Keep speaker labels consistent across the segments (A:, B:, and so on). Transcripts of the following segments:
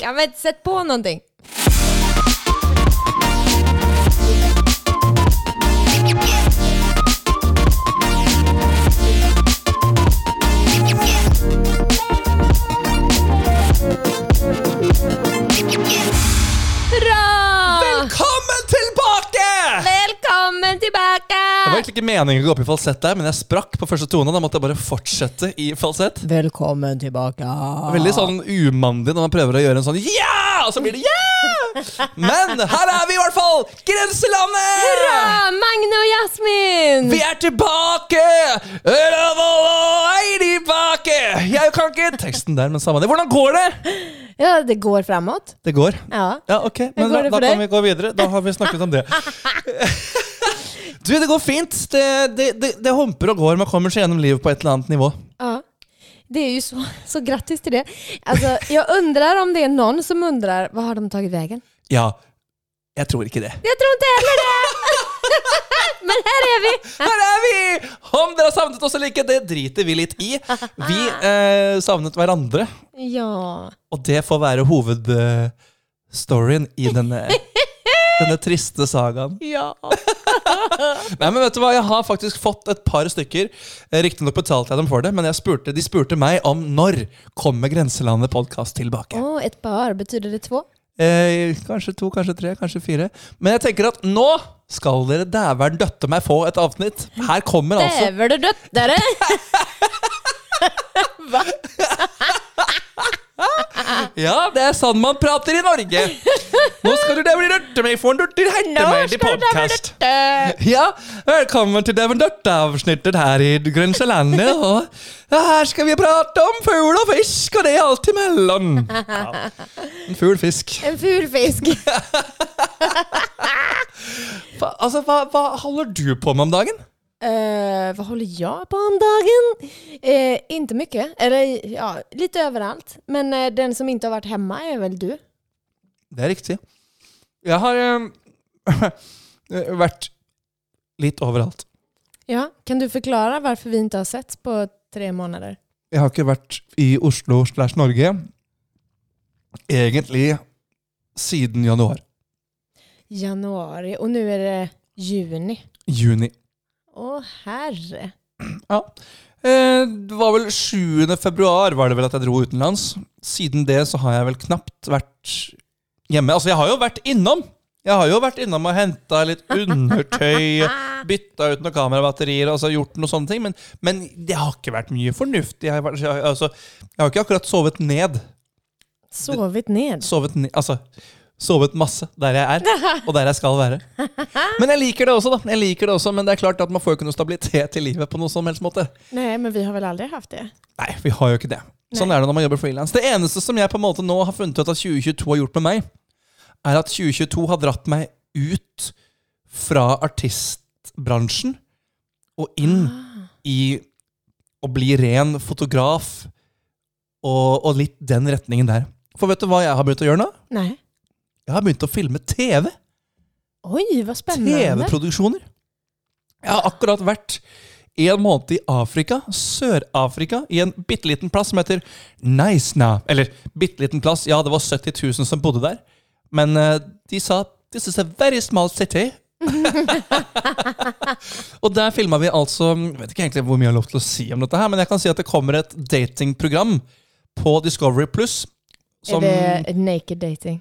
A: Ja men sätt på någonting. Hurra!
B: Velkommen tilbake!
A: Velkommen
B: Det var
A: tilbake!
B: egentlig ikke meningen å gå opp i falsett der, men jeg sprakk på første tone. Da måtte jeg bare fortsette i falsett.
A: Velkommen tilbake.
B: Veldig sånn umandig når man prøver å gjøre en sånn ja, og så blir det ja! Men her er vi i hvert fall! Grenselandet!
A: Hurra! Magne og Jasmin!
B: Vi er tilbake! Ørevoll er tilbake! Jeg kan ikke teksten der, men samme det. Hvordan går det?
A: Ja, det går framåt.
B: Det går.
A: Ja.
B: Ja, ok. Men
A: går
B: da,
A: det
B: da
A: for
B: kan
A: deg?
B: vi gå videre. Da har vi snakket om det. Du, det går fint. Det, det, det, det humper og går. Man kommer seg gjennom livet på et eller annet nivå.
A: Ja. Det är ju så, så grattis till det. Alltså, jag undrar om det är någon som undrar, vad har de tagit vägen?
B: Ja, jeg tror ikke det.
A: Jag tror inte heller det! Men här är vi!
B: Her er vi! Om dere har savnet oss eller ikke, det driter vi litt i. Vi eh, savnet hverandre,
A: Ja,
B: og det får være hovedstoryen i denne, denne triste sagaen.
A: ja.
B: Nei, men vet du hva? Jeg har faktisk fått et par stykker. Eh, Riktignok betalte jeg dem for det, men jeg spurte, de spurte meg om når kommer Grenselandet podkast tilbake.
A: Åh, ett par, betyder det två?
B: Eh, kanskje to, kanskje tre, kanskje fire. Men jeg tenker at nå skal dere dæveren døtte meg få et avsnitt. Her kommer altså
A: Däver du döttare!
B: Ja, det er sånn man prater i Norge! Nå skal du dæveren døtte meg få en dørter hente meg til podkast. Ja, velkommen til Dæven Dørt-avsnittet her i Grenselandet. Og her skal vi prate om fugl og fisk, og det er alt imellom. Ja. En fugl fisk.
A: En ful fisk.
B: Hva, altså, hva, hva holder du på med om dagen?
A: Eh, vad håller jag på om dagen? Eh, inte mycket, eller ja, lite överallt. Men eh, den som inte har varit hemma är väl du?
B: Det er riktig. Jeg har eh, vært litt overalt.
A: Ja, kan du förklara varför vi inte har sett på tre månader?
B: Jeg har ikke vært i Oslo slash Norge egentlig siden januar.
A: Januari och nu är det juni.
B: Juni.
A: Åh herre.
B: Ja. Eh, Det var vel 7. februar var det vel at jeg dro utenlands. Siden det så har jeg vel knapt vært hjemme. Altså, jeg har jo vært innom. Jeg har jo vært innom og henta litt undertøy, bytta ut noen kamerabatterier altså gjort noen sånne ting. Men, men det har ikke vært mye fornuftig. Jeg har, vært- jeg, har- altså, jeg har ikke akkurat sovet ned.
A: Sovit ned.
B: Sovet, ne- altså, sovet masse der jeg er, og der jeg skal være. Men jeg liker det også, da. Jeg liker det også, Men det er klart at man får jo ikke noe stabilitet i livet på noen som helst måte.
A: Nej, men vi har väl aldrig haft det?
B: Nei, vi har jo ikke det. Sånn er det når man jobber frilans. Det eneste som jeg på en måte nå har funnet ut at 2022 har gjort med meg, er at 2022 har dratt meg ut fra artistbransjen og inn
A: Ah.
B: i å bli ren fotograf og, og litt den retningen der. For vet du hva jeg har begynt å gjøre nå?
A: Nej.
B: Jeg har begynt å filme TV.
A: Oj, vad spännande.
B: TV-produksjoner. Jeg har akkurat vært en måned i Afrika, Sør-Afrika, i en bitte liten plass som heter Neisna. Eller bitte liten plass, ja, det var 70 000 som bodde der. Men eh, de sa This is a very small city. og der filma vi altså Jeg vet ikke egentlig hvor mye jeg har lov til å si om dette, her, men jeg kan si at det kommer et datingprogram på Discovery Pluss.
A: Är
B: Som
A: det naked dating?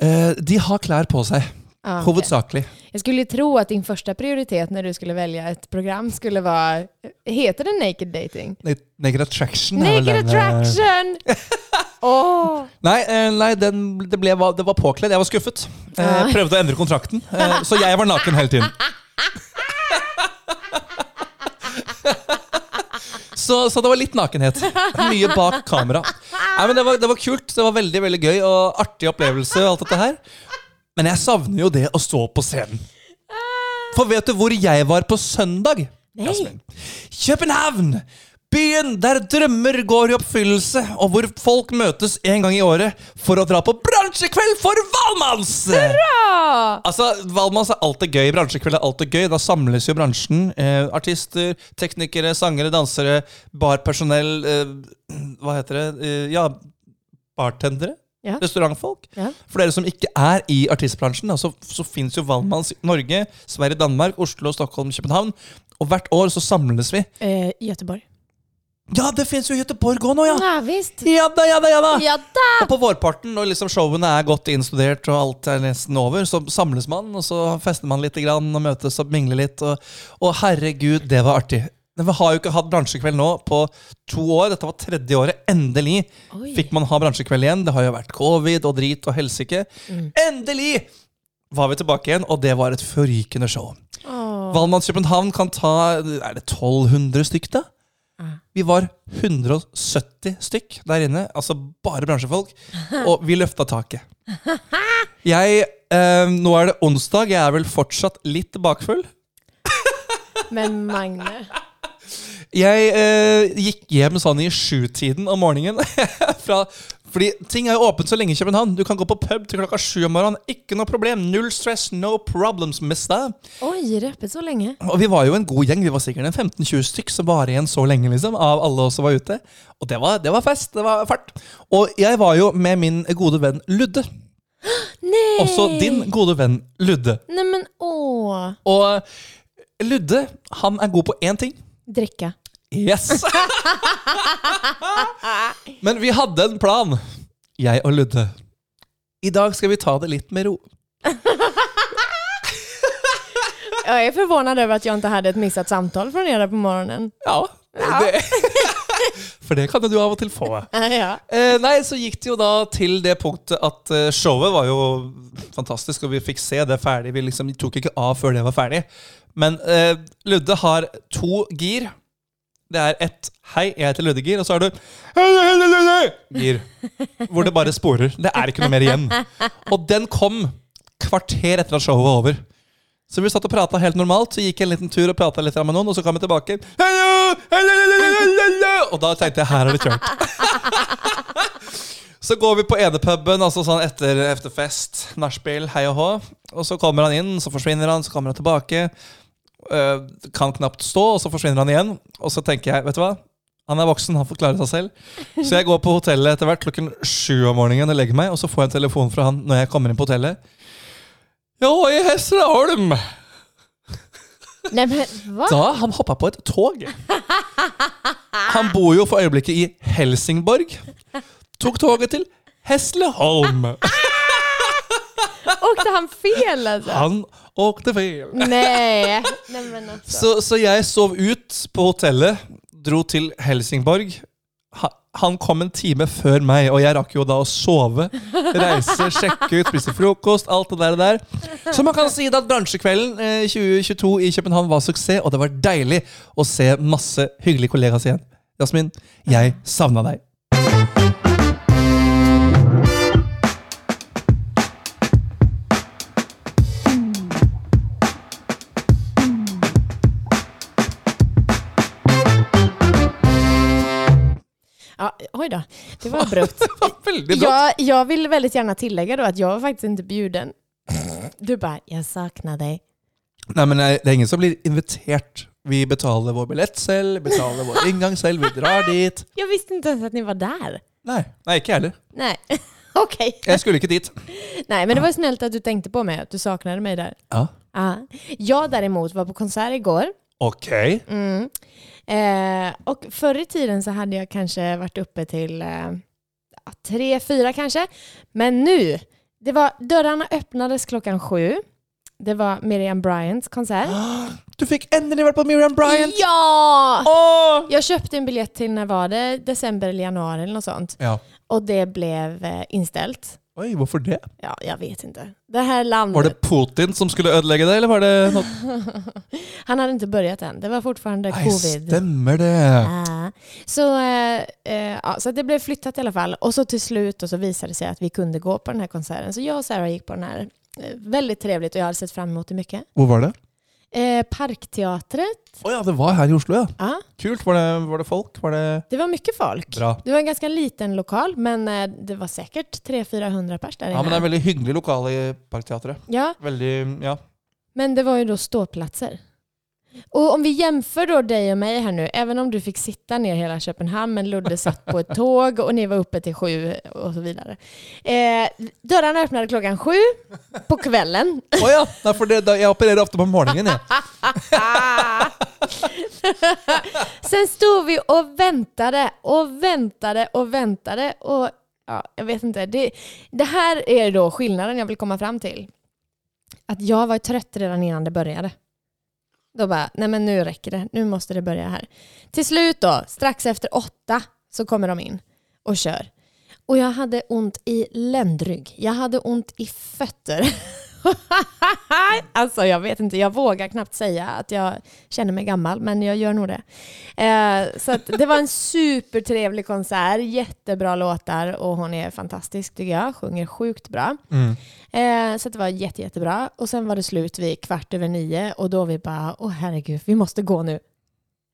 B: eh, De har klær på seg,
A: Ja, okej.
B: hovedsakelig.
A: Jag skulle ju tro att din första prioritet när du skulle välja ett program skulle vara, heter det naked dating?
B: Naked Attraction. er vel
A: Naked
B: den, eh,
A: attraction! Åh!
B: Nei, eh, nei den, det, ble, det var påkledd. Jeg var skuffet. Eh, Jeg prøvde å endre kontrakten, eh, så jeg var naken hele tiden. Så, så det var litt nakenhet. Mye bak kamera. Nei, men det var, det var kult. Det var veldig veldig gøy og artig opplevelse. og alt dette her. Men jeg savner jo det å stå på scenen. For vet du hvor jeg var på søndag? Jasmin? København! Byen der drømmer går i oppfyllelse, og hvor folk møtes en gang i året for å dra på bransjekveld for Valmanns!
A: Ah.
B: Altså, Valmanns er alltid gøy. Bransjekveld er alltid gøy. Da samles jo bransjen. Eh, artister, teknikere, sangere, dansere, barpersonell eh, Hva heter det? Eh, ja, bartendere?
A: Ja.
B: Restaurantfolk.
A: Ja.
B: For dere som ikke er i artistbransjen, da, så, så fins jo Valmanns i Norge, Sverige, Danmark, Oslo, Stockholm, København. Og hvert år så samles vi.
A: Eh, Göteborg.
B: Ja, det fins jo i Göteborg òg nå, ja!
A: Ja visst.
B: Ja da, ja da, ja da!
A: Ja da!
B: Og på vårparten, når liksom showene er godt innstudert og alt er nesten over, så samles man, og så fester man litt grann, og møtes og mingler litt. Og, og herregud, det var artig. Men Vi har jo ikke hatt bransjekveld nå på to år. Dette var tredje året. Endelig
A: Oi.
B: fikk man ha bransjekveld igjen. Det har jo vært covid og drit og helsike. Endelig var vi tilbake igjen, og det var et forrykende show.
A: Åh.
B: Valmanns København kan ta Er det 1200 stykk, da?
A: Ja.
B: Vi var 170 stykk der inne, altså bare bransjefolk, og vi løfta taket. Jeg eh, Nå er det onsdag, jeg er vel fortsatt litt bakfull.
A: Men Magne
B: Jeg eh, gikk hjem sånn i sjutiden om morgenen. fra, fordi ting er jo åpent så lenge i København. Du kan gå på pub til klokka sju om morgenen. Ikke noe problem. Null stress, no problems, mister.
A: Oi, rappet så lenge.
B: Og vi var jo en god gjeng. Vi var sikkert en 15-20 stykk som var igjen så lenge. liksom, av alle oss som var ute. Og det var, det var fest. Det var fart. Og jeg var jo med min gode venn Ludde.
A: Nei!
B: Også din gode venn Ludde.
A: Nei, men åh.
B: Og Ludde, han er god på én ting.
A: Drikke.
B: Yes! Men vi hadde en plan, jeg og Ludde. I dag skal vi ta det litt med ro.
A: Jag är förvånad över att jag inte hade ett missat samtal från er där på morgonen.
B: Ja. Det. For det kan jo du av og til få.
A: Ja.
B: Eh, nei, så gikk det jo da til det punktet at eh, showet var jo fantastisk, og vi fikk se det ferdig. Vi liksom tok ikke av før det var ferdig. Men eh, Ludde har to gir. Det er ett 'Hei, jeg heter Ludde-gir', og så har du 'Hei, jeg heter Ludde-gir'. Hvor det bare sporer. Det er ikke noe mer igjen. Og den kom kvarter etter at showet var over. Så vi satt og prata helt normalt, så gikk jeg en liten tur og prata litt med noen, og så kom jeg tilbake. Hallo! Hallo! Og da tenkte jeg her er det kjørt. Så går vi på alltså enepuben, altså sånn etter, etter fest, nachspiel, hei og hå. Og så kommer han inn, så forsvinner han, så kommer han tilbake. Øh, kan knapt stå, og så forsvinner han igjen. Og så tenker jeg, vet du hva? Han er voksen, han får klare seg selv. Så jeg går på hotellet etter hvert klokken sju om morgenen og legger meg, og så får jeg en telefon fra han når jeg kommer inn på hotellet. Jo, i Hesselholm!
A: Nej men va?
B: Da han hoppa på et tog. Han bor jo for øyeblikket i Helsingborg. Tok toget til Hesleholm.
A: Åkte han fel alltså?
B: Han åkte feil.
A: Nej. Nej men alltså.
B: Så, så jeg sov ut på hotellet, dro til Helsingborg. Ha- Han kom en time før meg, og jeg rakk jo da å sove, reise, sjekke ut, spise frokost, alt det der. og der. Så man kan si da at bransjekvelden eh, 2022 i København var suksess, og det var deilig å se masse hyggelige kollegaer igjen. Jasmin, jeg savna deg.
A: Ja, oj då. Det var abrupt.
B: Det var veldig bra.
A: Jag, jag vill väldigt gärna tillägga då att jag var faktiskt inte bjuden. Du bara, jag saknar dig.
B: Nei, men eh, Det er ingen som blir invitert. Vi betaler vår billett selv, betaler vår inngang selv, vi drar dit.
A: Jag visste inte ens att ni var där.
B: Nei, nei ikke jeg heller.
A: Nej. Okej.
B: Jeg skulle ikke dit.
A: Nej, men det var snällt att du tänkte på mig, att du saknade mig där.
B: Ja.
A: Ja. Jag däremot var på konsert igår.
B: Ok.
A: Mm. Eh, och förr i tiden så hade jag kanske varit uppe till eh, ja, tre, fyra kanske. Men nu, det var, dörrarna öppnades klockan sju. Det var Miriam Bryants konsert.
B: Du fikk endelig vært på Miriam Bryant!
A: Ja!
B: Åh!
A: Jag köpte en biljett till när var det? December eller januari eller något sånt.
B: Ja.
A: Och det blev eh, inställt.
B: Oi, hvorfor det?
A: Ja, jag vet inte. Det här landet,
B: Var det Putin som skulle ødelegge det, eller var det noe
A: han hade inte börjat än. Det var fortfarande
B: Nei,
A: covid.
B: stemmer det.
A: Ah. Så, eh, eh, ja, så det blev flyttat i alla fall. Och så till slut och så visade det sig att vi kunde gå på den här konserten. Så jag och Sarah gick på den här. Eh, Väldigt trevligt och jag hade sett fram emot det mycket.
B: Hvor var det?
A: Eh, parkteatret,
B: Å ja, det var her i Oslo, ja.
A: ja,
B: Kult. Var det, var det folk? Var det
A: det var mycket folk.
B: bra?
A: Det var en ganska liten lokal, men eh, det var säkert 300-400 pers där
B: Ja, men det
A: inne.
B: er veldig hyggelig lokale i Parkteatret.
A: Ja,
B: Veldig Ja.
A: men det var ju då ståplatser. Och om vi jämför då dig och mig här nu, även om du fick sitta ner hela Köpenhamn men Ludde satt på ett tåg och ni var uppe till sju och så vidare. Eh, dörrarna öppnade klockan sju på kvällen.
B: Å ja! Nei, for det, da, jeg opererer ofte på morgenen, jeg.
A: Ah. Sen stod vi och väntade och väntade och väntade och ja, jag vet inte. Det, det här är då skillnaden jag vill komma fram till. Att jag var trött redan innan det började. Då bara, nej men nu räcker det. Nu måste det börja här. Till slut då, strax efter åtta så kommer de in och kör. Och jag hade ont i ländrygg. Jag hade ont i fötter. alltså jag vet inte, jag vågar knappt säga att jag känner mig gammal, men jag gör nog det. Eh, så att det var en supertrevlig konsert, jättebra låtar och hon är fantastisk tycker jag, sjunger sjukt bra.
B: Mm.
A: Eh, så att det var jätte, jättebra. Och sen var det slut vid kvart över nio och då vi bara, åh herregud, vi måste gå nu.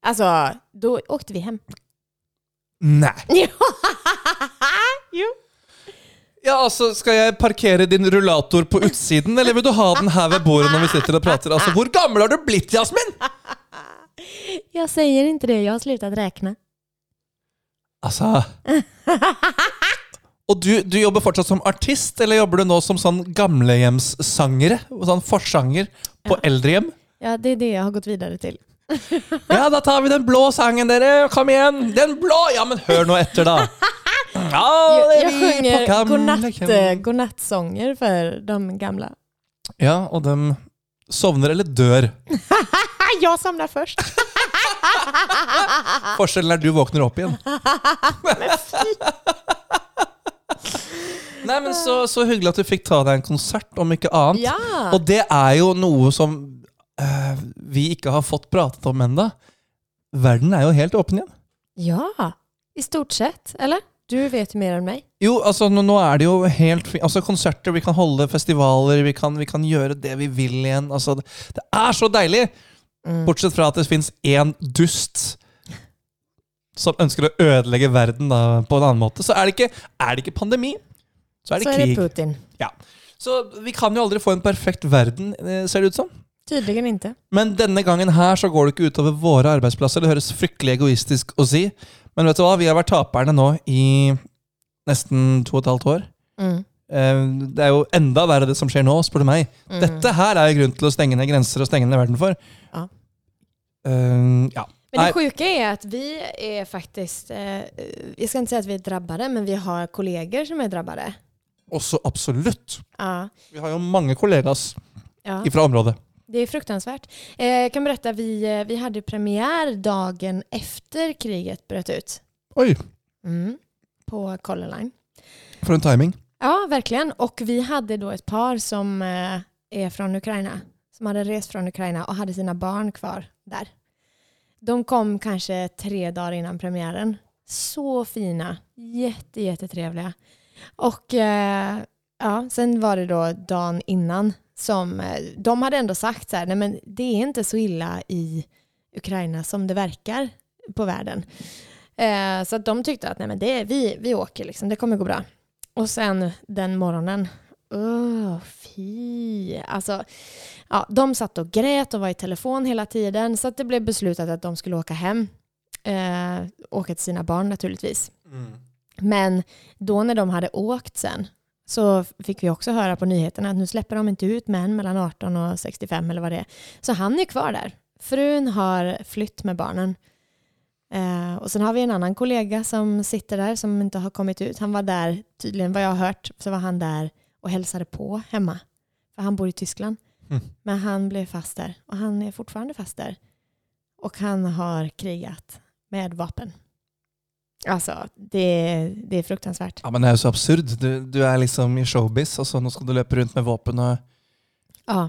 A: Alltså, då åkte vi hem.
B: Nei.
A: jo.
B: Ja, alltså, altså, Skal jeg parkere din rullator på utsiden, eller vil du ha den her ved bordet? når vi sitter og prater? Altså, Hvor gammel har du blitt, Jasmin?
A: Jag säger inte det, jag har slutat räkna.
B: Altså Og Alltså. du, du jobber fortsatt som artist, eller jobber du nå som sånn gamlehjemssangere? Sånn forsanger på eldrehjem?
A: Ja, det är det jag har gått vidare till.
B: Ja, da tar vi den blå sangen, dere! Kom igjen! Den blå! Ja, men hør nå etter, da! Ja,
A: Jag,
B: det
A: jag
B: er vi på
A: sjunger
B: gamle-
A: godnatt, eh, godnattsånger för de gamla.
B: Ja, og dem sovner eller dør.
A: Ah, jag somnar först.
B: Forskjellen er du våkner opp igjen. Nei, men så, så hyggelig at du fikk ta deg en konsert, om ikke annet.
A: Ja.
B: Og det er jo noe som eh, vi ikke har fått pratet om enda. Verden er jo helt åpen igjen.
A: ja, i stort sett. Eller? Du vet ju mer än mig.
B: Jo, alltså, altså nå, nå er det jo helt fri Altså Konserter, vi kan holde festivaler, vi kan, vi kan gjøre det vi vil igjen. Altså, det, det er så deilig!
A: Mm.
B: Bortsett fra at det fins én dust som ønsker å ødelegge verden da, på en annen måte. Så er det ikke, er det ikke pandemi, så
A: Så
B: er det
A: är det
B: krig.
A: Putin.
B: så vi kan jo aldri få en perfekt verden, eh, ser det ut som.
A: Tydligen inte.
B: Men denne gangen her så går det ikke utover våre arbeidsplasser. Det høres fryktelig egoistisk å si. Men vet du hva? Vi har vært taperne nå i nesten to og et halvt år.
A: Mm.
B: Eh, Det er jo enda verre det som skjer nå, spør du meg.
A: Mm.
B: Dette her er jo grunn til å stenge ned grenser og stenge ned verden for.
A: Ja.
B: Eh, ja.
A: Men det
B: Nej.
A: sjuka är att vi är faktiskt, eh, jag ska inte säga att vi är drabbade, men vi har kollegor som är drabbade.
B: Også absolutt.
A: Ja,
B: Vi har jo mange kollegaer
A: ja.
B: fra området.
A: Det är fruktansvärt. Eh, jag kan berätta, vi, eh, vi hade premiär dagen efter kriget bröt ut.
B: Oi,
A: Mm. På Color Line.
B: for en timing.
A: Ja, verkligen. Och vi hade då ett par som eh, är från Ukraina, som hade rest från Ukraina och hade sina barn kvar där. De kom kanske tre dagar innan premiären. Så fina, jätte, jättetrevliga. Och eh, ja, sen var det då dagen innan som eh, de hade ändå sagt så här, nej men det är inte så illa i Ukraina som det verkar på världen. Eh, så att de tyckte att nej men det, vi, vi åker liksom, det kommer gå bra. Och sen den morgonen, Åh, fy. Alltså, ja, de satt och grät och var i telefon hela tiden så att det blev beslutat att de skulle åka hem. Eh, åka till sina barn naturligtvis.
B: Mm.
A: Men då när de hade åkt sen så fick vi också höra på nyheterna att nu släpper de inte ut män mellan 18 och 65 eller vad det är. Så han är kvar där. Frun har flytt med barnen. Eh, och sen har vi en annan kollega som sitter där som inte har kommit ut. Han var där, tydligen vad jag har hört, så var han där och hälsade på hemma. För han bor i Tyskland.
B: Mm.
A: Men han blev fast där och han är fortfarande fast där. Och han har krigat med vapen. Alltså, det, det är fruktansvärt.
B: Ja, men det er jo så absurd. Du, du er liksom i showbiz, og så nå skal du løpe rundt med våpen og
A: Ja.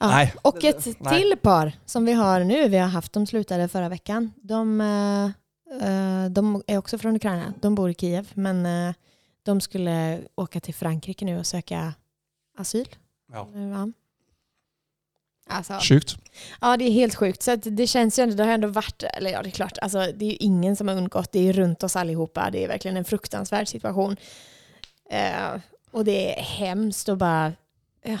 A: ja.
B: Nej.
A: Och ett
B: Nej.
A: till par som vi har nu, vi har haft, de slutade förra veckan. De, eh, eh, de är också från Ukraina, de bor i Kiev, men eh, de skulle åka til Frankrike nu och söka asyl.
B: Ja.
A: Ja. Alltså,
B: Sjukt.
A: ja, det är helt sjukt. Så att det känns ju ändå, det har ändå varit, eller ja det är klart, alltså, det är ju ingen som har undgått, det är ju runt oss allihopa, det är verkligen en fruktansvärd situation. Eh, och det är hemskt och bara, ja,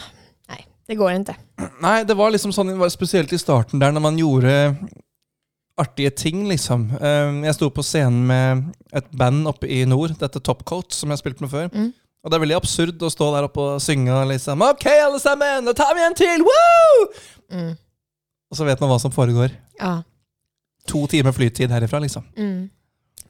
A: nej, Det går inte.
B: Nei, det var liksom sånn, det var spesielt i starten der, når man gjorde artige ting, liksom. Eh, Jeg sto på scenen med et band oppe i nord, dette Topcoat, som jeg har spilt med før.
A: Mm.
B: Og det er veldig absurd å stå der oppe og synge og liksom OK, alle sammen, nå tar vi en til! Woo!
A: Mm.
B: Og så vet man hva som foregår.
A: Ja.
B: To timer flytid herifra, liksom.
A: Mm.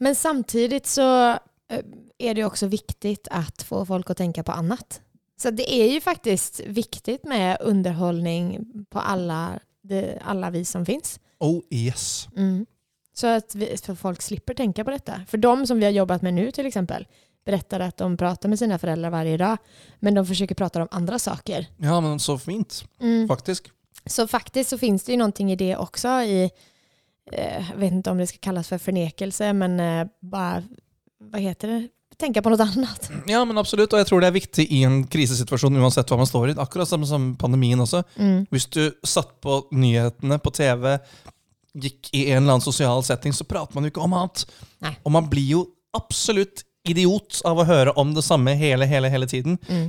A: Men samtidigt så eh, är det ju också viktigt att få folk att tänka på annat. Så det är ju faktiskt viktigt med underhållning på alla, det, alla vi som finns.
B: Oh yes.
A: Mm. Så att vi, för folk slipper tänka på detta. För de som vi har jobbat med nu till exempel berättar att de pratar med sina föräldrar varje dag men de försöker prata om andra saker.
B: Ja, men så fint,
A: Mm.
B: faktisk.
A: Så faktiskt så finns det ju någonting i det också i, eh, jag vet inte om det ska kallas för förnekelse, men eh, bara, vad heter det? Tänka på något annat.
B: Ja, men absolutt. Og jeg tror det er viktig i en krisesituasjon uansett hva man står i. Akkurat som, som pandemien også.
A: Mm.
B: Hvis du satt på nyhetene på TV, gikk i en eller annen sosial setting, så prater man jo ikke om annet.
A: Nei.
B: Og man blir jo absolutt idiot av å høre om det samme hele, hele, hele tiden.
A: Mm.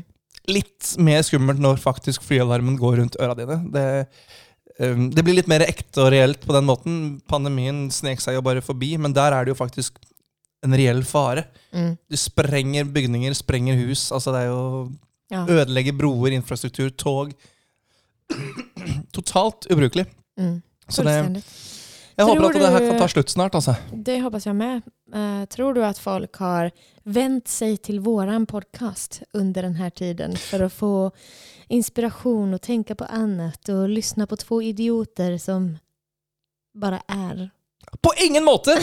B: Litt mer skummelt når faktisk flyalarmen går rundt øra dine. Det, um, det blir litt mer ekte og reelt på den måten. Pandemien snek seg jo bare forbi, men der er det jo faktisk en reell fare.
A: Mm.
B: Du sprenger bygninger, sprenger hus. Altså det er jo
A: Ja.
B: Ødelegge broer, infrastruktur, tog. Totalt ubrukelig.
A: Mm.
B: Eh, Så det,
A: Fullständigt.
B: jeg håper at
A: Tror
B: det her
A: du-
B: kan ta slutt snart. Altså.
A: Det hoppas jag med. Eh, tror du att folk har vänt sig till våran podcast under den här tiden för att få inspiration och tänka på annat och lyssna på två idioter som bara är?
B: På ingen måte!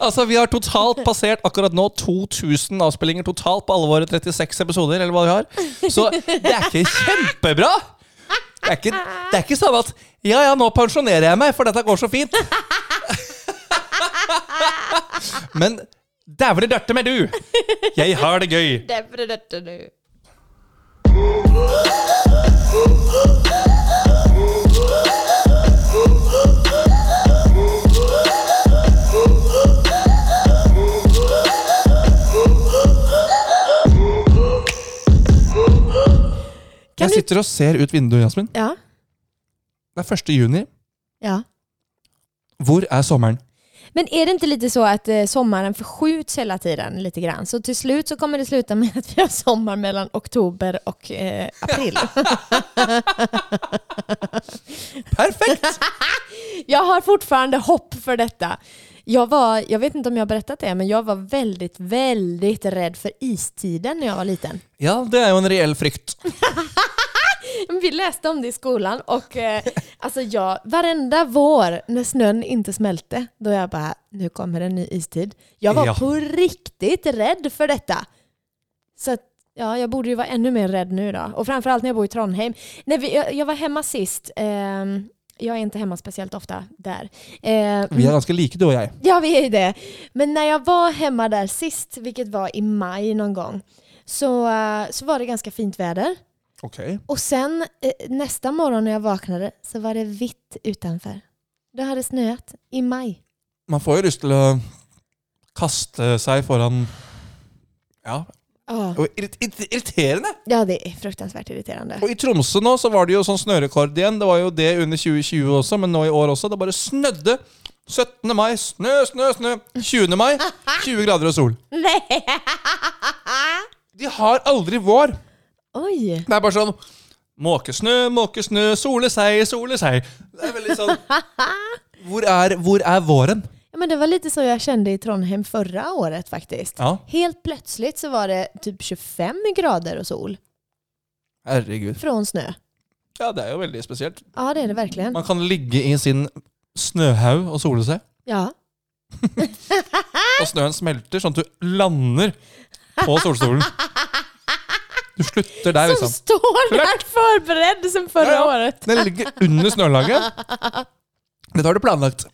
B: Altså, Vi har totalt passert akkurat nå 2000 avspillinger totalt på alle våre 36 episoder. eller hva vi har. Så det er ikke kjempebra! Det er ikke, det er ikke sånn at Ja, ja, nå pensjonerer jeg meg, for dette går så fint. Men dævlig dørte med du! Jeg har det gøy.
A: Kan
B: jeg
A: du-
B: sitter og ser ut vinduet, Jasmin.
A: Ja,
B: Det er 1. juni.
A: ja.
B: Hvor er sommeren?
A: Men är det inte lite så att eh, sommaren förskjuts hela tiden lite grann? Så till slut så kommer det sluta med att vi har sommar mellan oktober och eh, april.
B: Perfekt!
A: jag har fortfarande hopp för detta. Jag, var, jag vet inte om jag har berättat det, men jag var väldigt, väldigt rädd för istiden när jag var liten.
B: Ja, det er jo en reell frykt.
A: Men Vi läste om det i skolan och eh, alltså jag, varenda vår när snön inte smälte, då jag bara, nu kommer en ny istid. Jag var
B: Ja.
A: på riktigt rädd för detta. Så att, ja, jag borde ju vara ännu mer rädd nu då. Och framförallt när jag bor i Trondheim. När vi, jag, jag var hemma sist, ehm, jag är inte hemma speciellt ofta där. Eh,
B: Vi er ganske like, du og jeg.
A: Ja, vi är ju det. Men när jag var hemma där sist, vilket var i maj någon gång, så, eh, så var det ganska fint väder.
B: Ok.
A: Och sen eh, nästa morgon när jeg vaknade så var det vitt utanför. Det hade snöat i maj.
B: Man får jo lyst til å kaste seg foran Ja.
A: Ja,
B: Og irrit- irrit- irriterende!
A: ja det är fruktansvärt irriterande.
B: Og i Tromsø nå så var det jo sånn snørekord igjen. Det var jo det under 2020 også, men nå i år også. Det bare snødde. 17. mai, snø, snø, snø. 20. mai, 20 grader og sol.
A: Nej!
B: De har aldri vår.
A: Oj!
B: Det er bare sånn Måkesnø, måkesnø, sole seg, sole seg. Det er veldig sånn Hvor er, hvor er våren?
A: Ja, men det var lite så jag kände i Trondheim förra året faktiskt.
B: Ja,
A: Helt plötsligt så var det typ 25 grader och sol
B: herregud.
A: från snö.
B: Ja, det er jo veldig spesielt.
A: Ja, det är det verkligen.
B: Man kan ligge i sin snøhaug og sole seg,
A: Ja.
B: og snøen smelter sånn at du lander på solstolen. Du slutter
A: Som
B: der, liksom.
A: står där förberedd sen förra
B: Ja, ja.
A: året.
B: Den ligger under snølaget. Dette har du planlagt.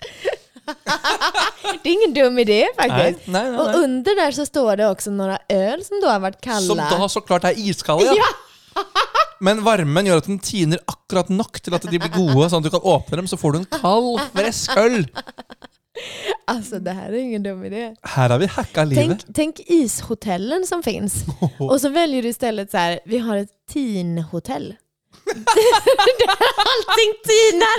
A: Det är ingen dum idé
B: Nei,
A: faktiskt.
B: nei, nei,
A: Och
B: nei.
A: under där så står det också några öl som då har varit kalla.
B: Som da så klart er iskalde, ja.
A: Ja.
B: Men varmen gjør at den tiner akkurat nok til at de blir gode, sånn at du kan åpne dem, så får du en kald, frisk øl.
A: Alltså det här är ingen dum idé.
B: Här har vi hackat livet.
A: Tänk, tänk ishotellen som finns. Och så väljer du istället så här, vi har ett tinhotell. Där allting tinar.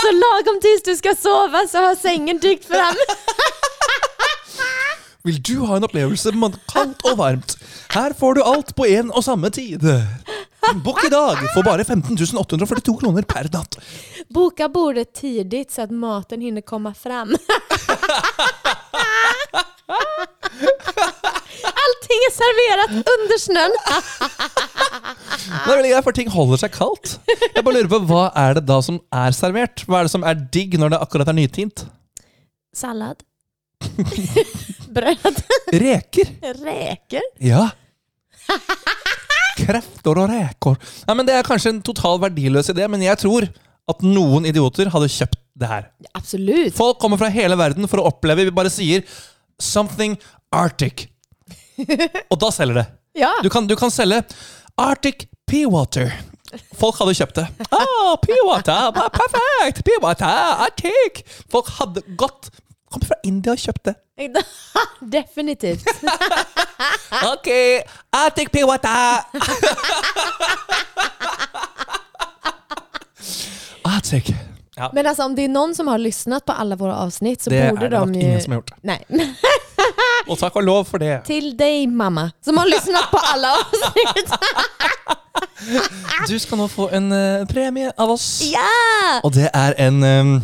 A: Så lagom tills du ska sova så har sängen dykt fram.
B: Vil du ha en opplevelse med kaldt og varmt? Her får du alt på én og samme tid. Bokk i dag for bare 15 842 kroner per natt.
A: Boka bordet tidigt så att maten hinner komma fram. Allting är serverat under snön.
B: Det er veldig greit, for ting holder seg kaldt. Jeg bare lurer på, Hva er det da som er servert? Hva er det som er digg når det akkurat er nytint?
A: Sallad. Bröd.
B: Reker.
A: Räkor.
B: Ja. Krefter og reker. Nei, men Det er kanskje en total verdiløs idé, men jeg tror at noen idioter hadde kjøpt det her.
A: Absolut.
B: Folk kommer fra hele verden for å oppleve. Vi bare sier 'something Arctic'. Og da selger det.
A: Ja.
B: Du kan, du kan selge Arctic Peawater. Folk hadde kjøpt det. Oh, Peawater! pa- Perfekt! Peawater! Arctic! Folk hadde gått Kom fra India og kjøpt det.
A: Definitivt.
B: Ok, Arctic Peawater! Arctic. Ja,
A: Men alltså om det är någon som har lyssnat på alla våra avsnitt så
B: det er
A: borde
B: det
A: de ju...
B: nok ingen som har gjort.
A: Nej.
B: Og takk og lov for det.
A: Till dig mamma som har lyssnat på alla avsnitt.
B: Du skal nå få en eh, premie av oss.
A: ja!
B: Og det er en um,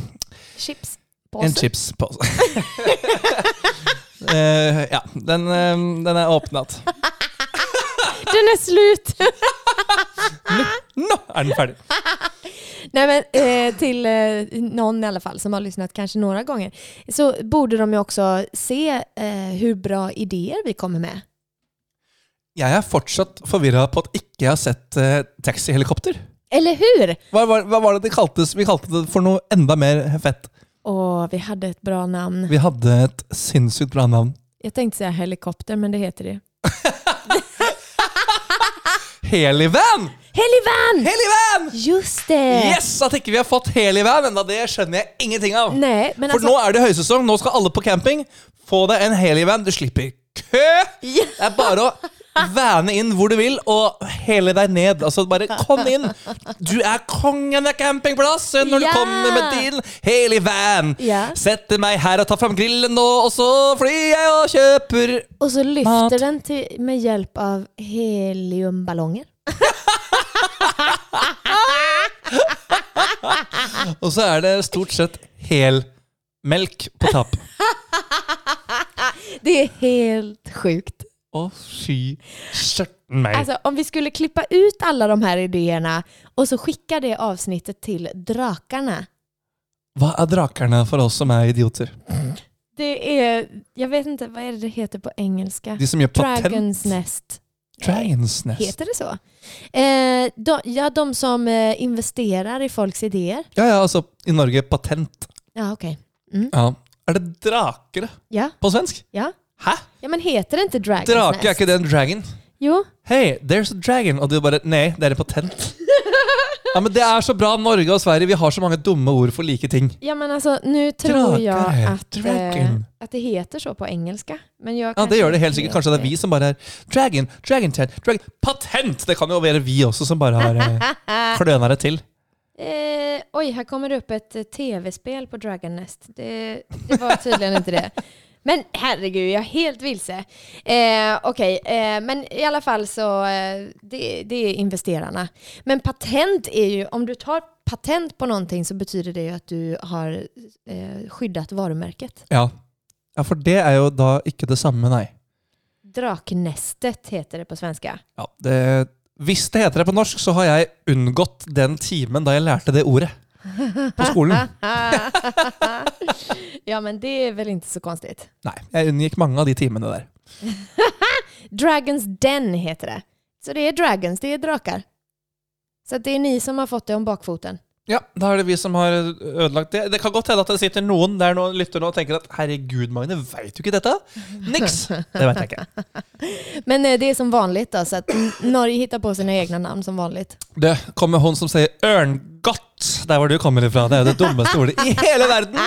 A: Chips.
B: En chipspose. Eh, ja, den, eh, den er åpnet.
A: Den är slut.
B: Nå er den ferdig.
A: Nej men eh, till eh, någon i alla fall som har lyssnat kanske några gånger så borde de ju också se eh, hur bra idéer vi kommer med.
B: Jeg er fortsatt forvirra på at ikke jeg har sett eh, taxihelikopter.
A: Eller hur?
B: Hva, var- hva var det det kaltes? Vi kalte det for noe enda mer fett.
A: Och vi hade ett bra namn.
B: Vi hadde et sinnssykt bra navn.
A: Jag tänkte säga helikopter men det heter det.
B: Helivan!
A: Helivan!
B: Helivan!
A: Just det!
B: Yes! At ikke vi har fått Helivan ennå, det skjønner jeg ingenting av.
A: Nej, men
B: For
A: alltså,
B: nå er det høysesong, nå skal alle på camping. Få deg en Helivan. Du slipper kø!
A: Ja.
B: Det er bare å vane inn hvor du vil, og hele deg ned. Altså Bare kom inn. Du er kongen av campingplass
A: Ja.
B: når du kommer med din hele van.
A: Ja.
B: Setter meg her og tar fram grillen nå, og så flyr jeg og kjøper
A: Och så lyfter
B: Mat.
A: den till, med hjälp av heliumballonger.
B: Og så er det stort sett hel melk på tapp.
A: Det är helt sjukt.
B: Å, fy skjørten meg.
A: Alltså, om vi skulle klippa ut alla de här idéerna och så skicka det avsnittet til drakarna.
B: Hva er drakerne for oss som er idioter?
A: Det är, jag vet inte, vad är det det heter på engelska?
B: De som gjør patent?
A: Dragons Nest. Eh,
B: Dragons Nest.
A: Heter det så? Eh, de, ja, de som eh, investerar i folks idéer.
B: Ja, ja, altså i Norge patent.
A: Ja, okej.
B: Ja. Er det drakere
A: Ja,
B: på svensk?
A: ja.
B: Hæ?
A: ja, men heter det inte Dragons
B: Drake er
A: Nest?
B: ikke det en dragon?
A: Jo,
B: Hey, there's a dragon. Og du bare Nei, det er en patent. Ja, men Det er så bra. Norge og Sverige, vi har så mange dumme ord for like ting.
A: ja, men alltså, nu tror
B: Drakare,
A: jag att, eh,
B: dragon.
A: att det heter så på engelska. Men jag
B: Ja,
A: kanske
B: Det gjør det
A: inte
B: helt sikkert.
A: vet
B: Kanskje det er vi som bare er Dragon, dragon tent, dragon Patent! Det kan jo være vi også som bare har eh, kløna det til.
A: Eh, oj, här kommer det upp ett eh, tv-spel på Dragon Nest. Det, det var tydligen inte det. Men herregud, jag är helt vilse. Eh, Okej, eh, men i alla fall så, eh, det, det är investerarna. Men patent är ju, om du tar patent på någonting så betyder det ju att du har eh, skyddat varumärket.
B: Ja. ja, for det er jo da ikke det samme, nei.
A: Draknästet heter det på svenska.
B: Ja, det, Hvis det heter det på norsk, så har jeg unngått den timen da jeg lærte det ordet på skolen.
A: ja, men det är väl inte så konstigt.
B: Nei, jeg unngikk mange av de timene der.
A: Dragons Den heter det. Så det är dragons, det är drakar. Så att det är ni som har fått det om bakfoten.
B: Ja, da er det vi som har ødelagt det. Det kan godt hende at det sitter noen der nå og lytter nå og tenker at herregud, Magne, veit du ikke dette? Niks! Det veit jeg ikke.
A: Men eh, det är som vanligt då, så att Norge hittar på sina egna namn som vanligt.
B: Det kommer hun som sier ørn... Godt! Der hvor du kommer ifra. Det er jo det dummeste ordet i hele verden.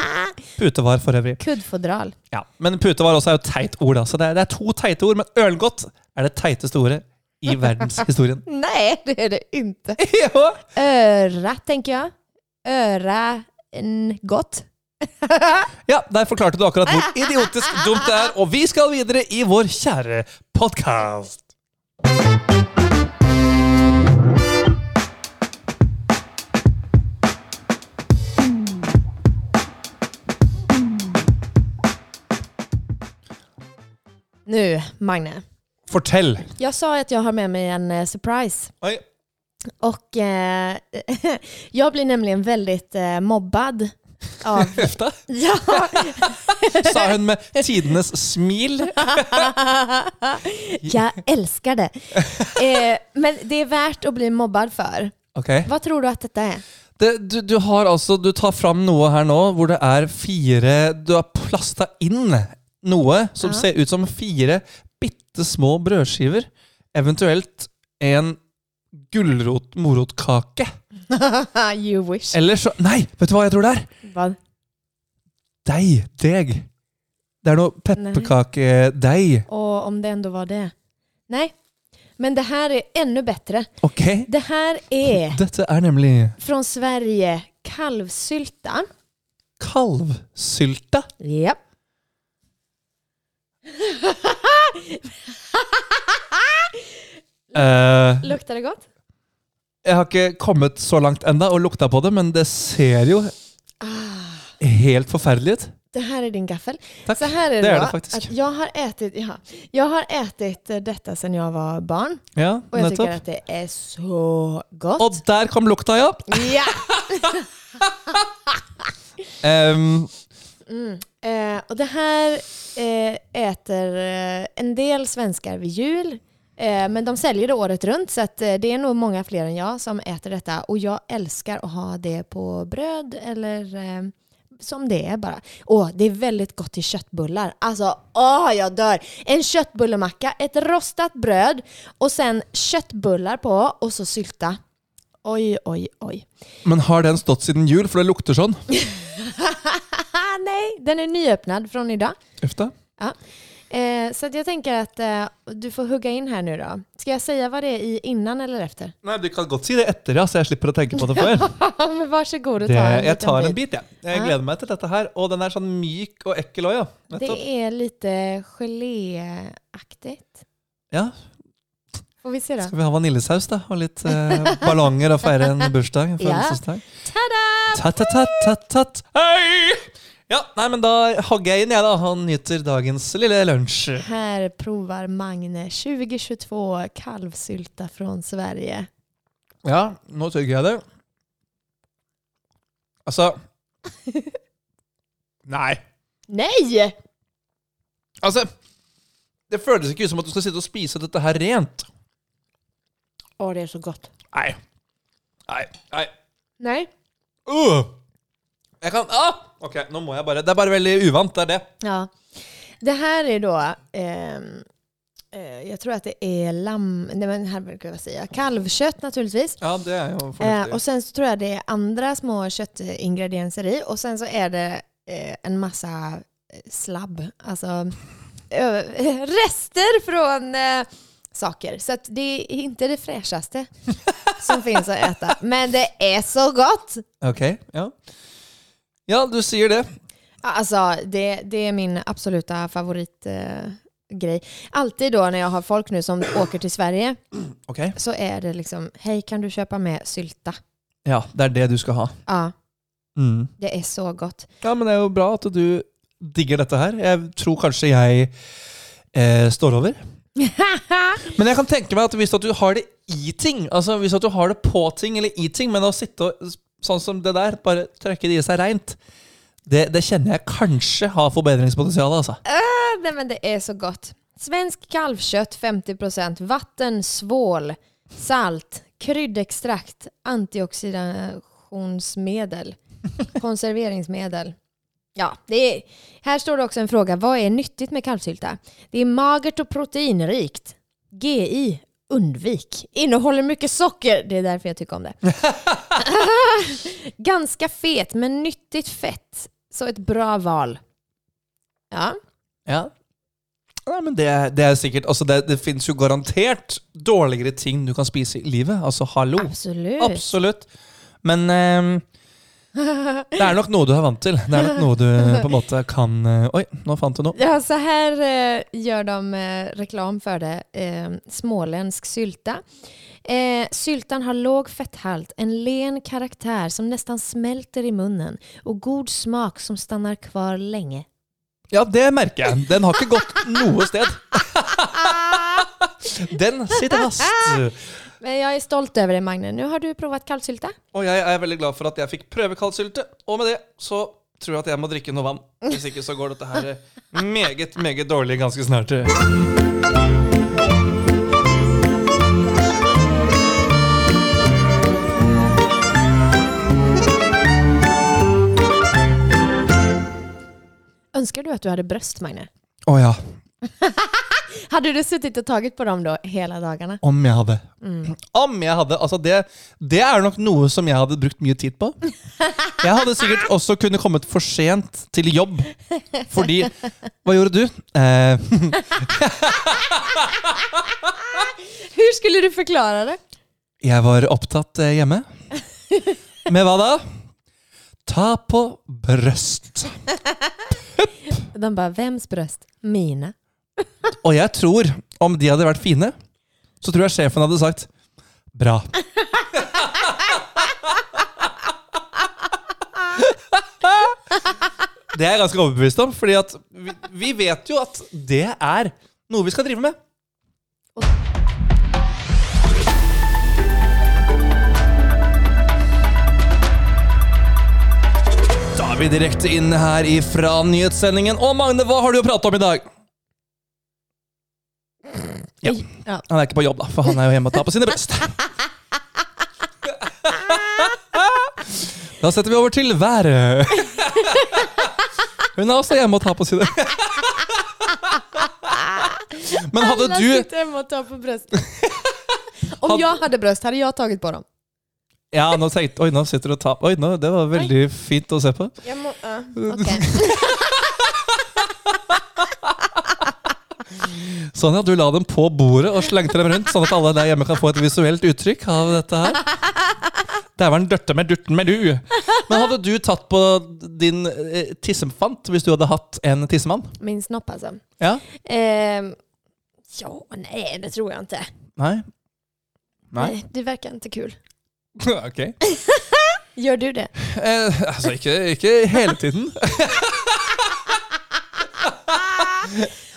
B: Pute var for øvrig.
A: Kuddfodral.
B: Ja, Men pute var også er jo et teit ord. da. Så det er, det er to teite ord, men ølgodt er det teiteste ordet i verdenshistorien.
A: Nej, det är det inte.
B: Jo.
A: Öra, tänker jeg. Öra en gott.
B: Ja, der forklarte du akkurat hvor idiotisk dumt det er, og vi skal videre i vår kjære podkast.
A: Nu, Magne.
B: Fortell.
A: Jag sa att jag har med mig en eh, surprise.
B: Oi.
A: Och eh, jag blir nämligen väldigt eh, mobbad av...
B: Hefta,
A: ja.
B: sa hun med tidenes smil.
A: jag älskar det. Eh, men det är värt att bli mobbad för.
B: Ok.
A: Vad tror du att detta är?
B: Det, du, du har altså, du tar fram noe her nå hvor det er fire Du har plasta inn noe som
A: Ja.
B: ser ut som fire bitte små brødskiver. Eventuelt en gulrot-morotkake.
A: you wish.
B: Eller så Nei, vet du hva jeg tror det er?
A: Vad?
B: Deig. Deg. Det er noe pepperkakedeig.
A: Och om det ändå var det. Nej, men det här är ännu bättre.
B: Ok.
A: Det här är
B: Dette er nemlig
A: från Sverige kalvsylta.
B: kalvsylta.
A: Japp.
B: Eh,
A: Luktar det gott?
B: jeg har ikke kommet så langt enda og lukta på det, men det ser jo helt forferdelig ut.
A: Ah. Det här är din gaffel.
B: Takk.
A: Så här är det,
B: Det är
A: då
B: det faktiskt.
A: att jag har ätit, ja, jag har ätit eh, detta sedan jag var barn
B: Ja,
A: och jag tycker
B: nettopp.
A: att det är så gott.
B: Og der kom lukta, ja.
A: Ja.
B: Ehm,
A: Eh, och det här eh, äter eh, en del svenskar vid jul. Eh, men de säljer det året runt så att, eh, det är nog många fler än jag som äter detta. Och jag älskar att ha det på bröd eller eh, som det är bara. Åh, det är väldigt gott till köttbullar. Alltså, åh jag dör! En köttbullemacka, ett rostat bröd och sen köttbullar på og så sylta. Oj, oj, oj.
B: men har den stått siden jul, for det lukter sånn?
A: Ah, nej, den är nyöppnad från idag.
B: Uff da.
A: Ja. Eh, så att jag tänker att eh, du får hugga in här nu då. Ska jag säga vad det är i innan eller efter?
B: Nei, Du kan godt si det etter, ja, så jeg slipper å tenke på det før.
A: Ja, men varsågod och ta
B: Det,
A: en
B: jeg
A: liten
B: tar en
A: bit.
B: bit, jeg. Jeg
A: Ja.
B: gleder meg til dette her. Og den er sånn myk og ekkel òg, ja. Nettopp.
A: Det är lite geléaktigt.
B: Ja,
A: Får vi se då?
B: Skal vi ha vaniljesaus da, og litt eh, ballonger og feire en bursdag? en
A: Ja.
B: Følelsesdag.
A: Tada!
B: Ta-ta-ta-ta-ta-t. Hei! Ja, nei, men da hogger jeg inn, jeg, da, og nyter dagens lille lunsj.
A: Här provar Magne 2022 kalvsylta från Sverige.
B: Ja, nå tygger jeg det. Alltså. Altså Nei.
A: Nej!
B: Altså Alltså, Det føles ikke ut som at du skal sitte og spise dette her rent.
A: Åh, det är så gott.
B: Nei. Nei. Nei.
A: Nej.
B: Uh. Jeg kan ah! Ok, nå må jeg bare Det er bare veldig uvant, det er det.
A: Ja. Det här är då, ehm, eh, jag tror att det är lamm, nej men här brukar jag säga, kalvkött naturligvis.
B: Ja, det er jo
A: Eh, och sen så tror jag det är andra små köttingredienser i och sen så är det eh, en massa eh, slabb, alltså ö- rester från eh, saker. Så att det är inte det fräschaste som finns att äta. Men det är så gott!
B: Ok, ja. Ja, du sier det.
A: Ja, Alltså det, det är min absoluta favoritgrej. Eh, grej. Alltid då när jag har folk nu som åker till Sverige
B: Ok.
A: så är det liksom, hej kan du köpa med sylta?
B: Ja, det er det du skal ha.
A: Ja, det är så gott.
B: Ja, men det er jo bra at du digger dette her. Jeg tror kanskje jeg eh, står over. Men jeg kan tenke meg at hvis at du har det i ting, altså hvis at du har det på ting eller i ting, men å sitte og, sånn som det der, bare trykke det i seg reint, det, det kjenner jeg kanskje har forbedringspotensial, alltså. altså.
A: Ja, Ah, Nej men det är så gott. Svensk kalvkött 50%, vatten, svål, salt, kryddextrakt, antioxidationsmedel, konserveringsmedel. Ja, det är, här står det också en fråga. Vad är nyttigt med kalvsylta? Det är magert och proteinrikt. GI Undvik. Innehåller mycket socker. Det är därför jag tycker om det. Ganska fet, men nyttigt fett. Så ett bra val. Ja.
B: Ja. Ja, men det, det er sikkert altså det, det finnes jo garantert dårligere ting du kan spise i livet. Altså, hallo.
A: Absolut.
B: Absolutt. Men ehm, det er nok noe du er vant til. Det er nok noe du på en måte kan eh, Oi, nå fant du noe.
A: Ja, så här eh, gör de eh, reklam för det. Eh, småländsk sylta. Eh, syltan har låg fetthalt, en len karaktär som nästan smälter i munnen och god smak som stannar kvar länge.
B: Ja, det merker jeg. Den har ikke gått noe sted. Den sitter fast.
A: Ah! Men jag är stolt över det Magne. Nu har du provat kallsylta.
B: Og jeg er veldig glad for at jeg fikk prøve kaldsylte. Og med det så tror jeg at jeg må drikke noe vann. Hvis ikke så går dette her eh, meget, meget dårlig ganske snart.
A: Önskar du att du hade bröst Magne?
B: Å ja.
A: Hade du suttit och tagit på dem då hela dagarna?
B: Om jeg hadde. Om jeg hadde. Altså det, det er nok noe som jeg hadde brukt mye tid på. Jeg hadde sikkert også kunne kommet for sent til jobb. Fordi Hva gjorde du? Eh,
A: Hur skulle du förklara det?
B: jeg var opptatt eh, hjemme. Med hva da? Ta på brøst.
A: De bara, vems bröst? Mina.
B: Og jeg tror, om de hadde vært fine, så tror jeg sjefen hadde sagt bra. Det er jeg ganske overbevist om, fordi at vi, vi vet jo at det er noe vi skal drive med. Da er vi direkte inne her ifra nyhetssendingen. Og Magne, hva har du å prate om i dag? Ja.
A: Ja.
B: Han er ikke på jobb, da, for han er jo hjemme og tar på sine bryst. Da setter vi over til været. Hun er også hjemme og tar på sine Men hadde
A: Alla
B: du
A: sitter hemma och tar på bröst. Om jag hade bröst hade jag tagit på dem.
B: Ja, nå tenkte Oi, nå sitter du og tar Oi, nå, det var veldig fint å se på.
A: Jag må,
B: Sånn, ja. Du la dem på bordet og slengte dem rundt, sånn at alle der hjemme kan få et visuelt uttrykk av dette her. Dæven dørte med durten med du. Men hadde du tatt på din eh, tissefant hvis du hadde hatt en tissemann?
A: Min snopp alltså.
B: Ja?
A: Ehm, ja, nej, det tror jag inte.
B: Nei? Nei?
A: Nej, Det verkar inte kul.
B: Ok.
A: Gör du det?
B: Eh, altså, ikke, ikke hele tiden.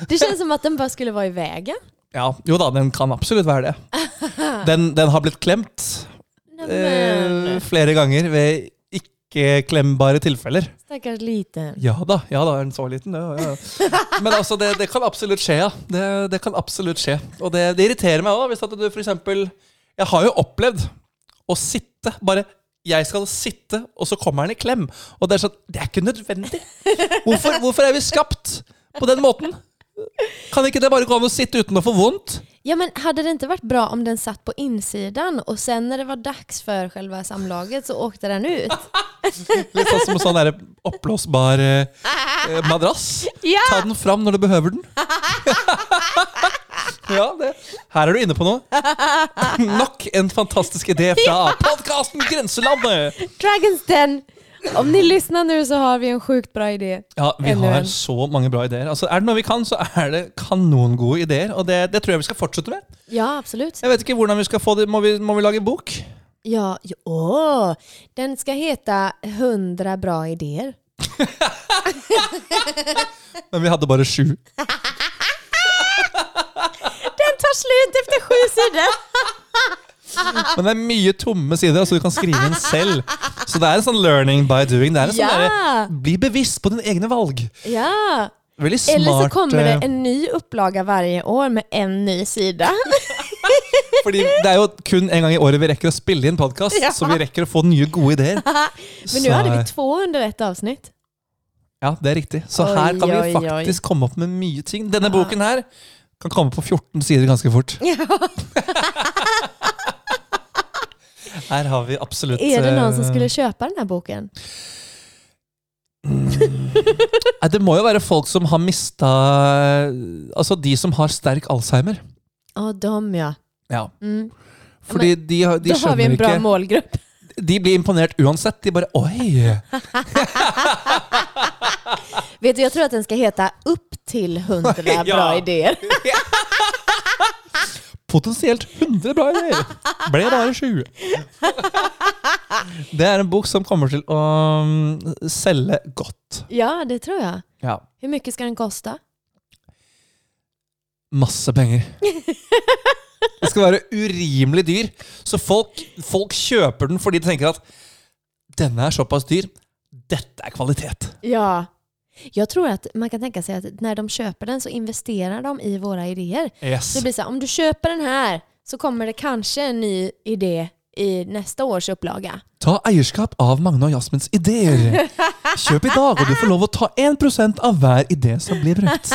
A: Det känns som att den bara skulle vara i vägen.
B: Ja, jo da, den kan absolutt være det. Den, den har blitt klemt
A: Nej,
B: eh,
A: men,
B: flere ganger ved ikke-klembare tilfeller.
A: stackars liten.
B: Ja da, ja da, er den så liten? Ja, ja. Men altså, det, det kan absolutt skje, ja. Det, det kan absolutt skje. Og det, det irriterer meg òg, hvis at du for eksempel Jeg har jo opplevd å sitte bare jeg skal sitte, og så kommer han i klem. Og det er sånn Det er ikke nødvendig! Hvorfor, hvorfor er vi skapt på den måten? Kan ikke det bare gå an å sitte uten å få vondt?
A: Ja, men hade det inte varit bra om den satt på insidan och sen när det var dags för själva samlaget så åkte den ut?
B: Litt sånn som en sånn der oppblåsbar eh, eh, madrass.
A: Ja!
B: Ta den fram når du behøver den. ja, det. Her er du inne på noe. Nok en fantastisk idé fra podkasten Grenselandet!
A: Dragons Den! Om ni lyssnar nu så har vi en sjukt bra idé.
B: Ja, Vi
A: Enda
B: har
A: en.
B: så mange bra ideer. Altså, Er det noe vi kan, så er det kanongode ideer. Og det, det tror jeg vi skal fortsette med.
A: Ja, absolut.
B: Jeg vet ikke hvordan vi skal få det. Må vi, må vi lage bok?
A: Ja, ja åh. den ska heta 100 bra idéer.
B: Men vi hadde bare sju.
A: Den tar slut efter sju sidor.
B: Men det er mye tomme sider, altså du kan skrive inn selv. Så det er en sånn learning by doing. Det er en sånn
A: Ja.
B: derre, Bli bevisst på dine egne valg.
A: Ja,
B: Veldig smart.
A: eller så kommer det
B: eh,
A: en ny upplaga varje år med en ny sida.
B: Fordi det er jo kun en gang i året vi rekker å spille inn podkast,
A: Ja.
B: så vi rekker å få nye, gode ideer.
A: Men nu hade vi två under ett avsnitt.
B: Ja, det er riktig. Så
A: Oi,
B: her kan
A: oi,
B: vi
A: oi.
B: faktisk komme opp med mye ting. Denne boken her kan komme på 14 sider ganske fort.
A: Ja.
B: Her har vi absolutt
A: Är det någon som
B: eh,
A: skulle köpa den här boken?
B: Nei, Det må jo være folk som har mista Altså de som har sterk Alzheimer.
A: Ja, de ja.
B: Ja.
A: Mm.
B: Fordi de, har- de
A: Då har vi
B: skjønner
A: en bra
B: ikke
A: målgrupp.
B: De blir imponert uansett. De bare Oi!
A: Vet du, jag tror att den ska heta Upp till 100
B: Ja.
A: bra idéer.
B: Potensielt 100 bra ideer! Ble bare 20. Det er en bok som kommer til å mm, selge godt.
A: Ja, det tror jag.
B: Ja.
A: Hur mycket ska den kosta?
B: Masse penger. Det skal være urimelig dyr. Så folk, folk kjøper den fordi de tenker at denne er såpass dyr. Dette er kvalitet.
A: Ja. Jag tror att man kan tänka sig att när de köper den så investerar de i våra idéer.
B: Yes.
A: Det blir så här, om du köper den här så kommer det kanske en ny idé i nästa års upplaga.
B: Ta eierskap av Magne og Jasmins ideer. Kjøp i dag, og du får lov å ta 1 av hver idé som blir brukt.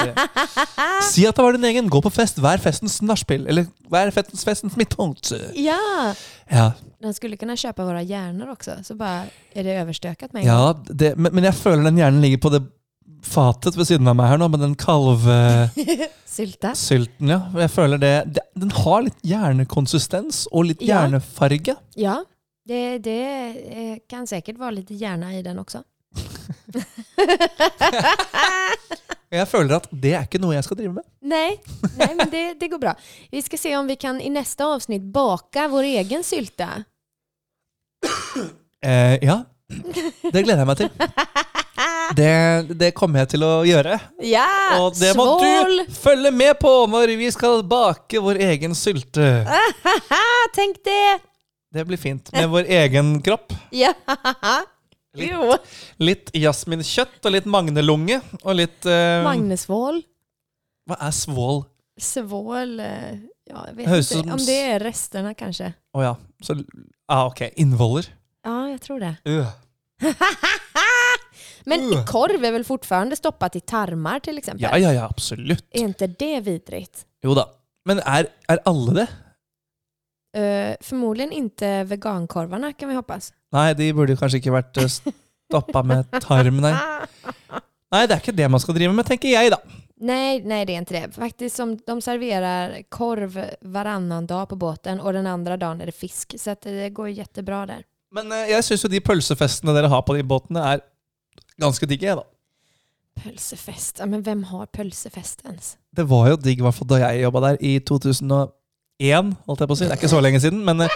B: Si at det var din egen. Gå på fest. Vær festens nachspiel. Eller vær festens, festens midtpunkt.
A: Ja!
B: Ja,
A: Den skulle kunna köpa våra hjärnor också, så bara är det överstökat med en gång.
B: ja det, men, men jeg føler den hjernen ligger på det fatet ved siden av meg her nå, med den kalvesylten.
A: Sylta.
B: ja. Jeg føler det, det Den har litt hjernekonsistens og litt
A: Ja.
B: hjernefarge.
A: Ja, det, det eh, kan säkert vara lite hjärna i den också.
B: Og jeg føler at det er ikke noe jeg skal drive med.
A: Nej, nej men det, det går bra. Vi ska se om vi kan i nästa avsnitt baka vår egen sylta.
B: Eh, ja. Det gleder jeg meg til. Det, det kommer jeg til å gjøre.
A: Ja,
B: Og det må
A: svål!
B: du følge med på når vi skal bake vår egen sylte.
A: Ah, tänk det!
B: Det blir fint. Med vår egen kropp.
A: Ja.
B: Litt.
A: Jo.
B: Litt jasminkjøtt og litt magnelunge. Og litt eh,
A: Magnesvål.
B: Hva er svål?
A: Svål, eh, ja, jag vet
B: Hörs
A: inte.
B: som
A: Om det är resterna kanske.
B: Å ja. Så, ah, ok. Innvoller.
A: Ja, jeg tror det.
B: Øh.
A: Men
B: Uh.
A: korv är väl fortfarande stoppat i tarmar till exempel?
B: Ja, ja, ja. Absolutt.
A: Är inte det vidrigt?
B: Jo da. Men er, er alle det?
A: Eh, förmodligen inte vegankorvarna kan vi hoppas.
B: Nei, de burde kanskje ikke vært eh, stappa med tarm, nei. Nei, det er ikke det man skal drive med, tenker jeg, da.
A: Nej, nej det är inte det. Faktiskt som de serverar korv varannan dag på båten och den andra dagen är det fisk. Så att det går jättebra där.
B: Men eh, jeg syns jo de pølsefestene dere har på de båtene, er ganske digge, jeg, da.
A: Pölsefest, ja, men vem har pölsefest ens?
B: Det var jo digg, i hvert fall da jeg jobba der i 2001, holdt jeg på å si. Det er ikke så lenge siden, men eh,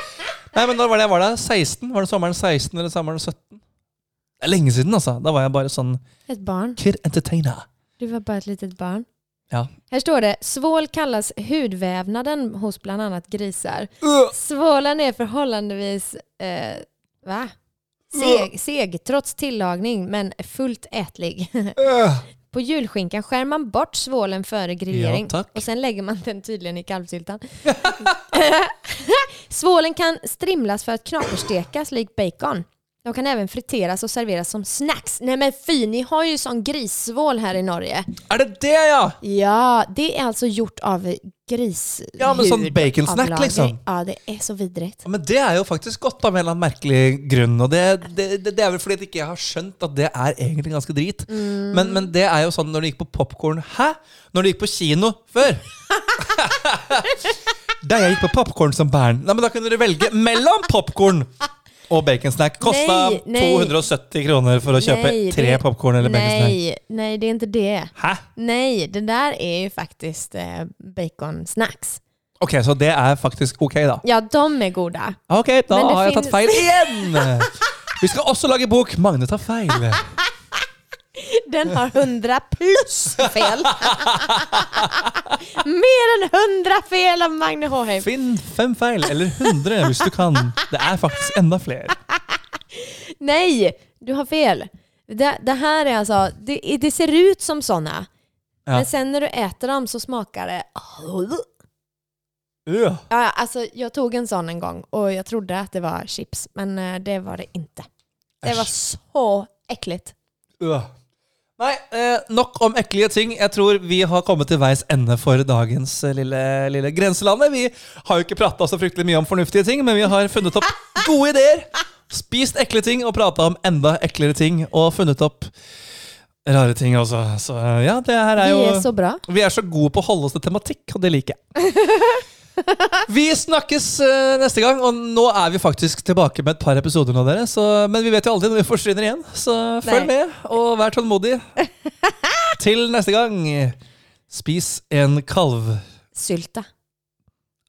B: Nei, men da var det jeg var der? 16? Var det sommeren 16 eller sommeren 17? Det er lenge siden, altså. Da var jeg bare sånn
A: Ett barn.
B: Kid entertainer.
A: Du var bara ett litet barn.
B: Ja.
A: Här står det, svål kallas hudvävnaden hos bland annat grisar.
B: Øh,
A: Svålen är förhållandevis eh, va? Seg, seg trots tillagning men fullt ätlig.
B: øh.
A: På julskinkan skär man bort svålen före grillering
B: Ja, tack.
A: och sen lägger man den tydligen i kalvsyltan. svålen kan strimlas för att knaperstekas likt bacon. De kan även friteras och serveras som snacks. Nej men fy, ni har ju sån grissvål här i Norge.
B: Er det det, ja?
A: Ja, det är alltså gjort av grishud.
B: Ja, men sånn baconsnack,
A: avlager.
B: liksom.
A: Ja, det är så vidrigt.
B: Ja, Men det er jo faktisk godt av en eller annen merkelig grunn. Og det, det, det, det er vel fordi at ikke jeg har skjønt at det er egentlig ganske drit.
A: Mm.
B: Men, men det er jo sånn når det gikk på popkorn Hæ? Når det gikk på kino før? da jeg gikk på popkorn som barn, Nei, men da kunne du velge mellom popkorn og baconsnack. Kosta
A: Nei, nei.
B: 270 kroner for å kjøpe
A: Nej,
B: tre
A: det-
B: popkorn eller baconsnack.
A: Nej, nej, det är inte det.
B: Hæ?
A: Nej, det där är ju faktiskt eh, baconsnacks.
B: Ok, så det er faktisk ok, da.
A: Ja, de är goda.
B: Ok, da
A: Men det
B: har jeg tatt
A: finnes-
B: feil igjen! Vi skal også lage bok. Magne tar feil.
A: Den har 100 plus fel. Mer än 100 fel av Magne Håheim.
B: Finn fem feil, eller 100 hvis du kan. Det er faktisk enda flere.
A: Nej, du har fel. Det, det här är alltså, det, det ser ut som sådana.
B: Ja.
A: Men sen när du äter dem så smakar det...
B: Øh.
A: Ja, ja, alltså, jag tog en sån en gång och jag trodde att det var chips, men eh, det var det inte. Det var
B: Äsch.
A: så äckligt.
B: Øh. Nei, eh, nok om ekle ting. Jeg tror vi har kommet til veis ende for dagens eh, lille, lille grenselandet. Vi har jo ikke prata så fryktelig mye om fornuftige ting, men vi har funnet opp gode ideer. Spist ekle ting og prata om enda eklere ting, og funnet opp rare ting også. Så eh, ja, det her er jo
A: Vi er så bra.
B: vi er så gode på å holde oss til tematikk, og det liker jeg. Vi snakkes eh, neste gang, og nå er vi faktisk tilbake med et par episoder. nå dere så, Men vi vet jo aldri når vi forsvinner igjen, så følg
A: Nei.
B: med og vær tålmodig. Til neste gang, spis en kalv.
A: Sylta.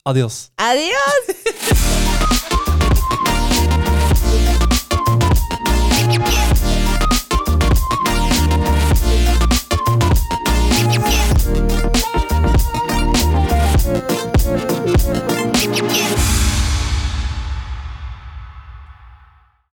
B: Adios.
A: Adios!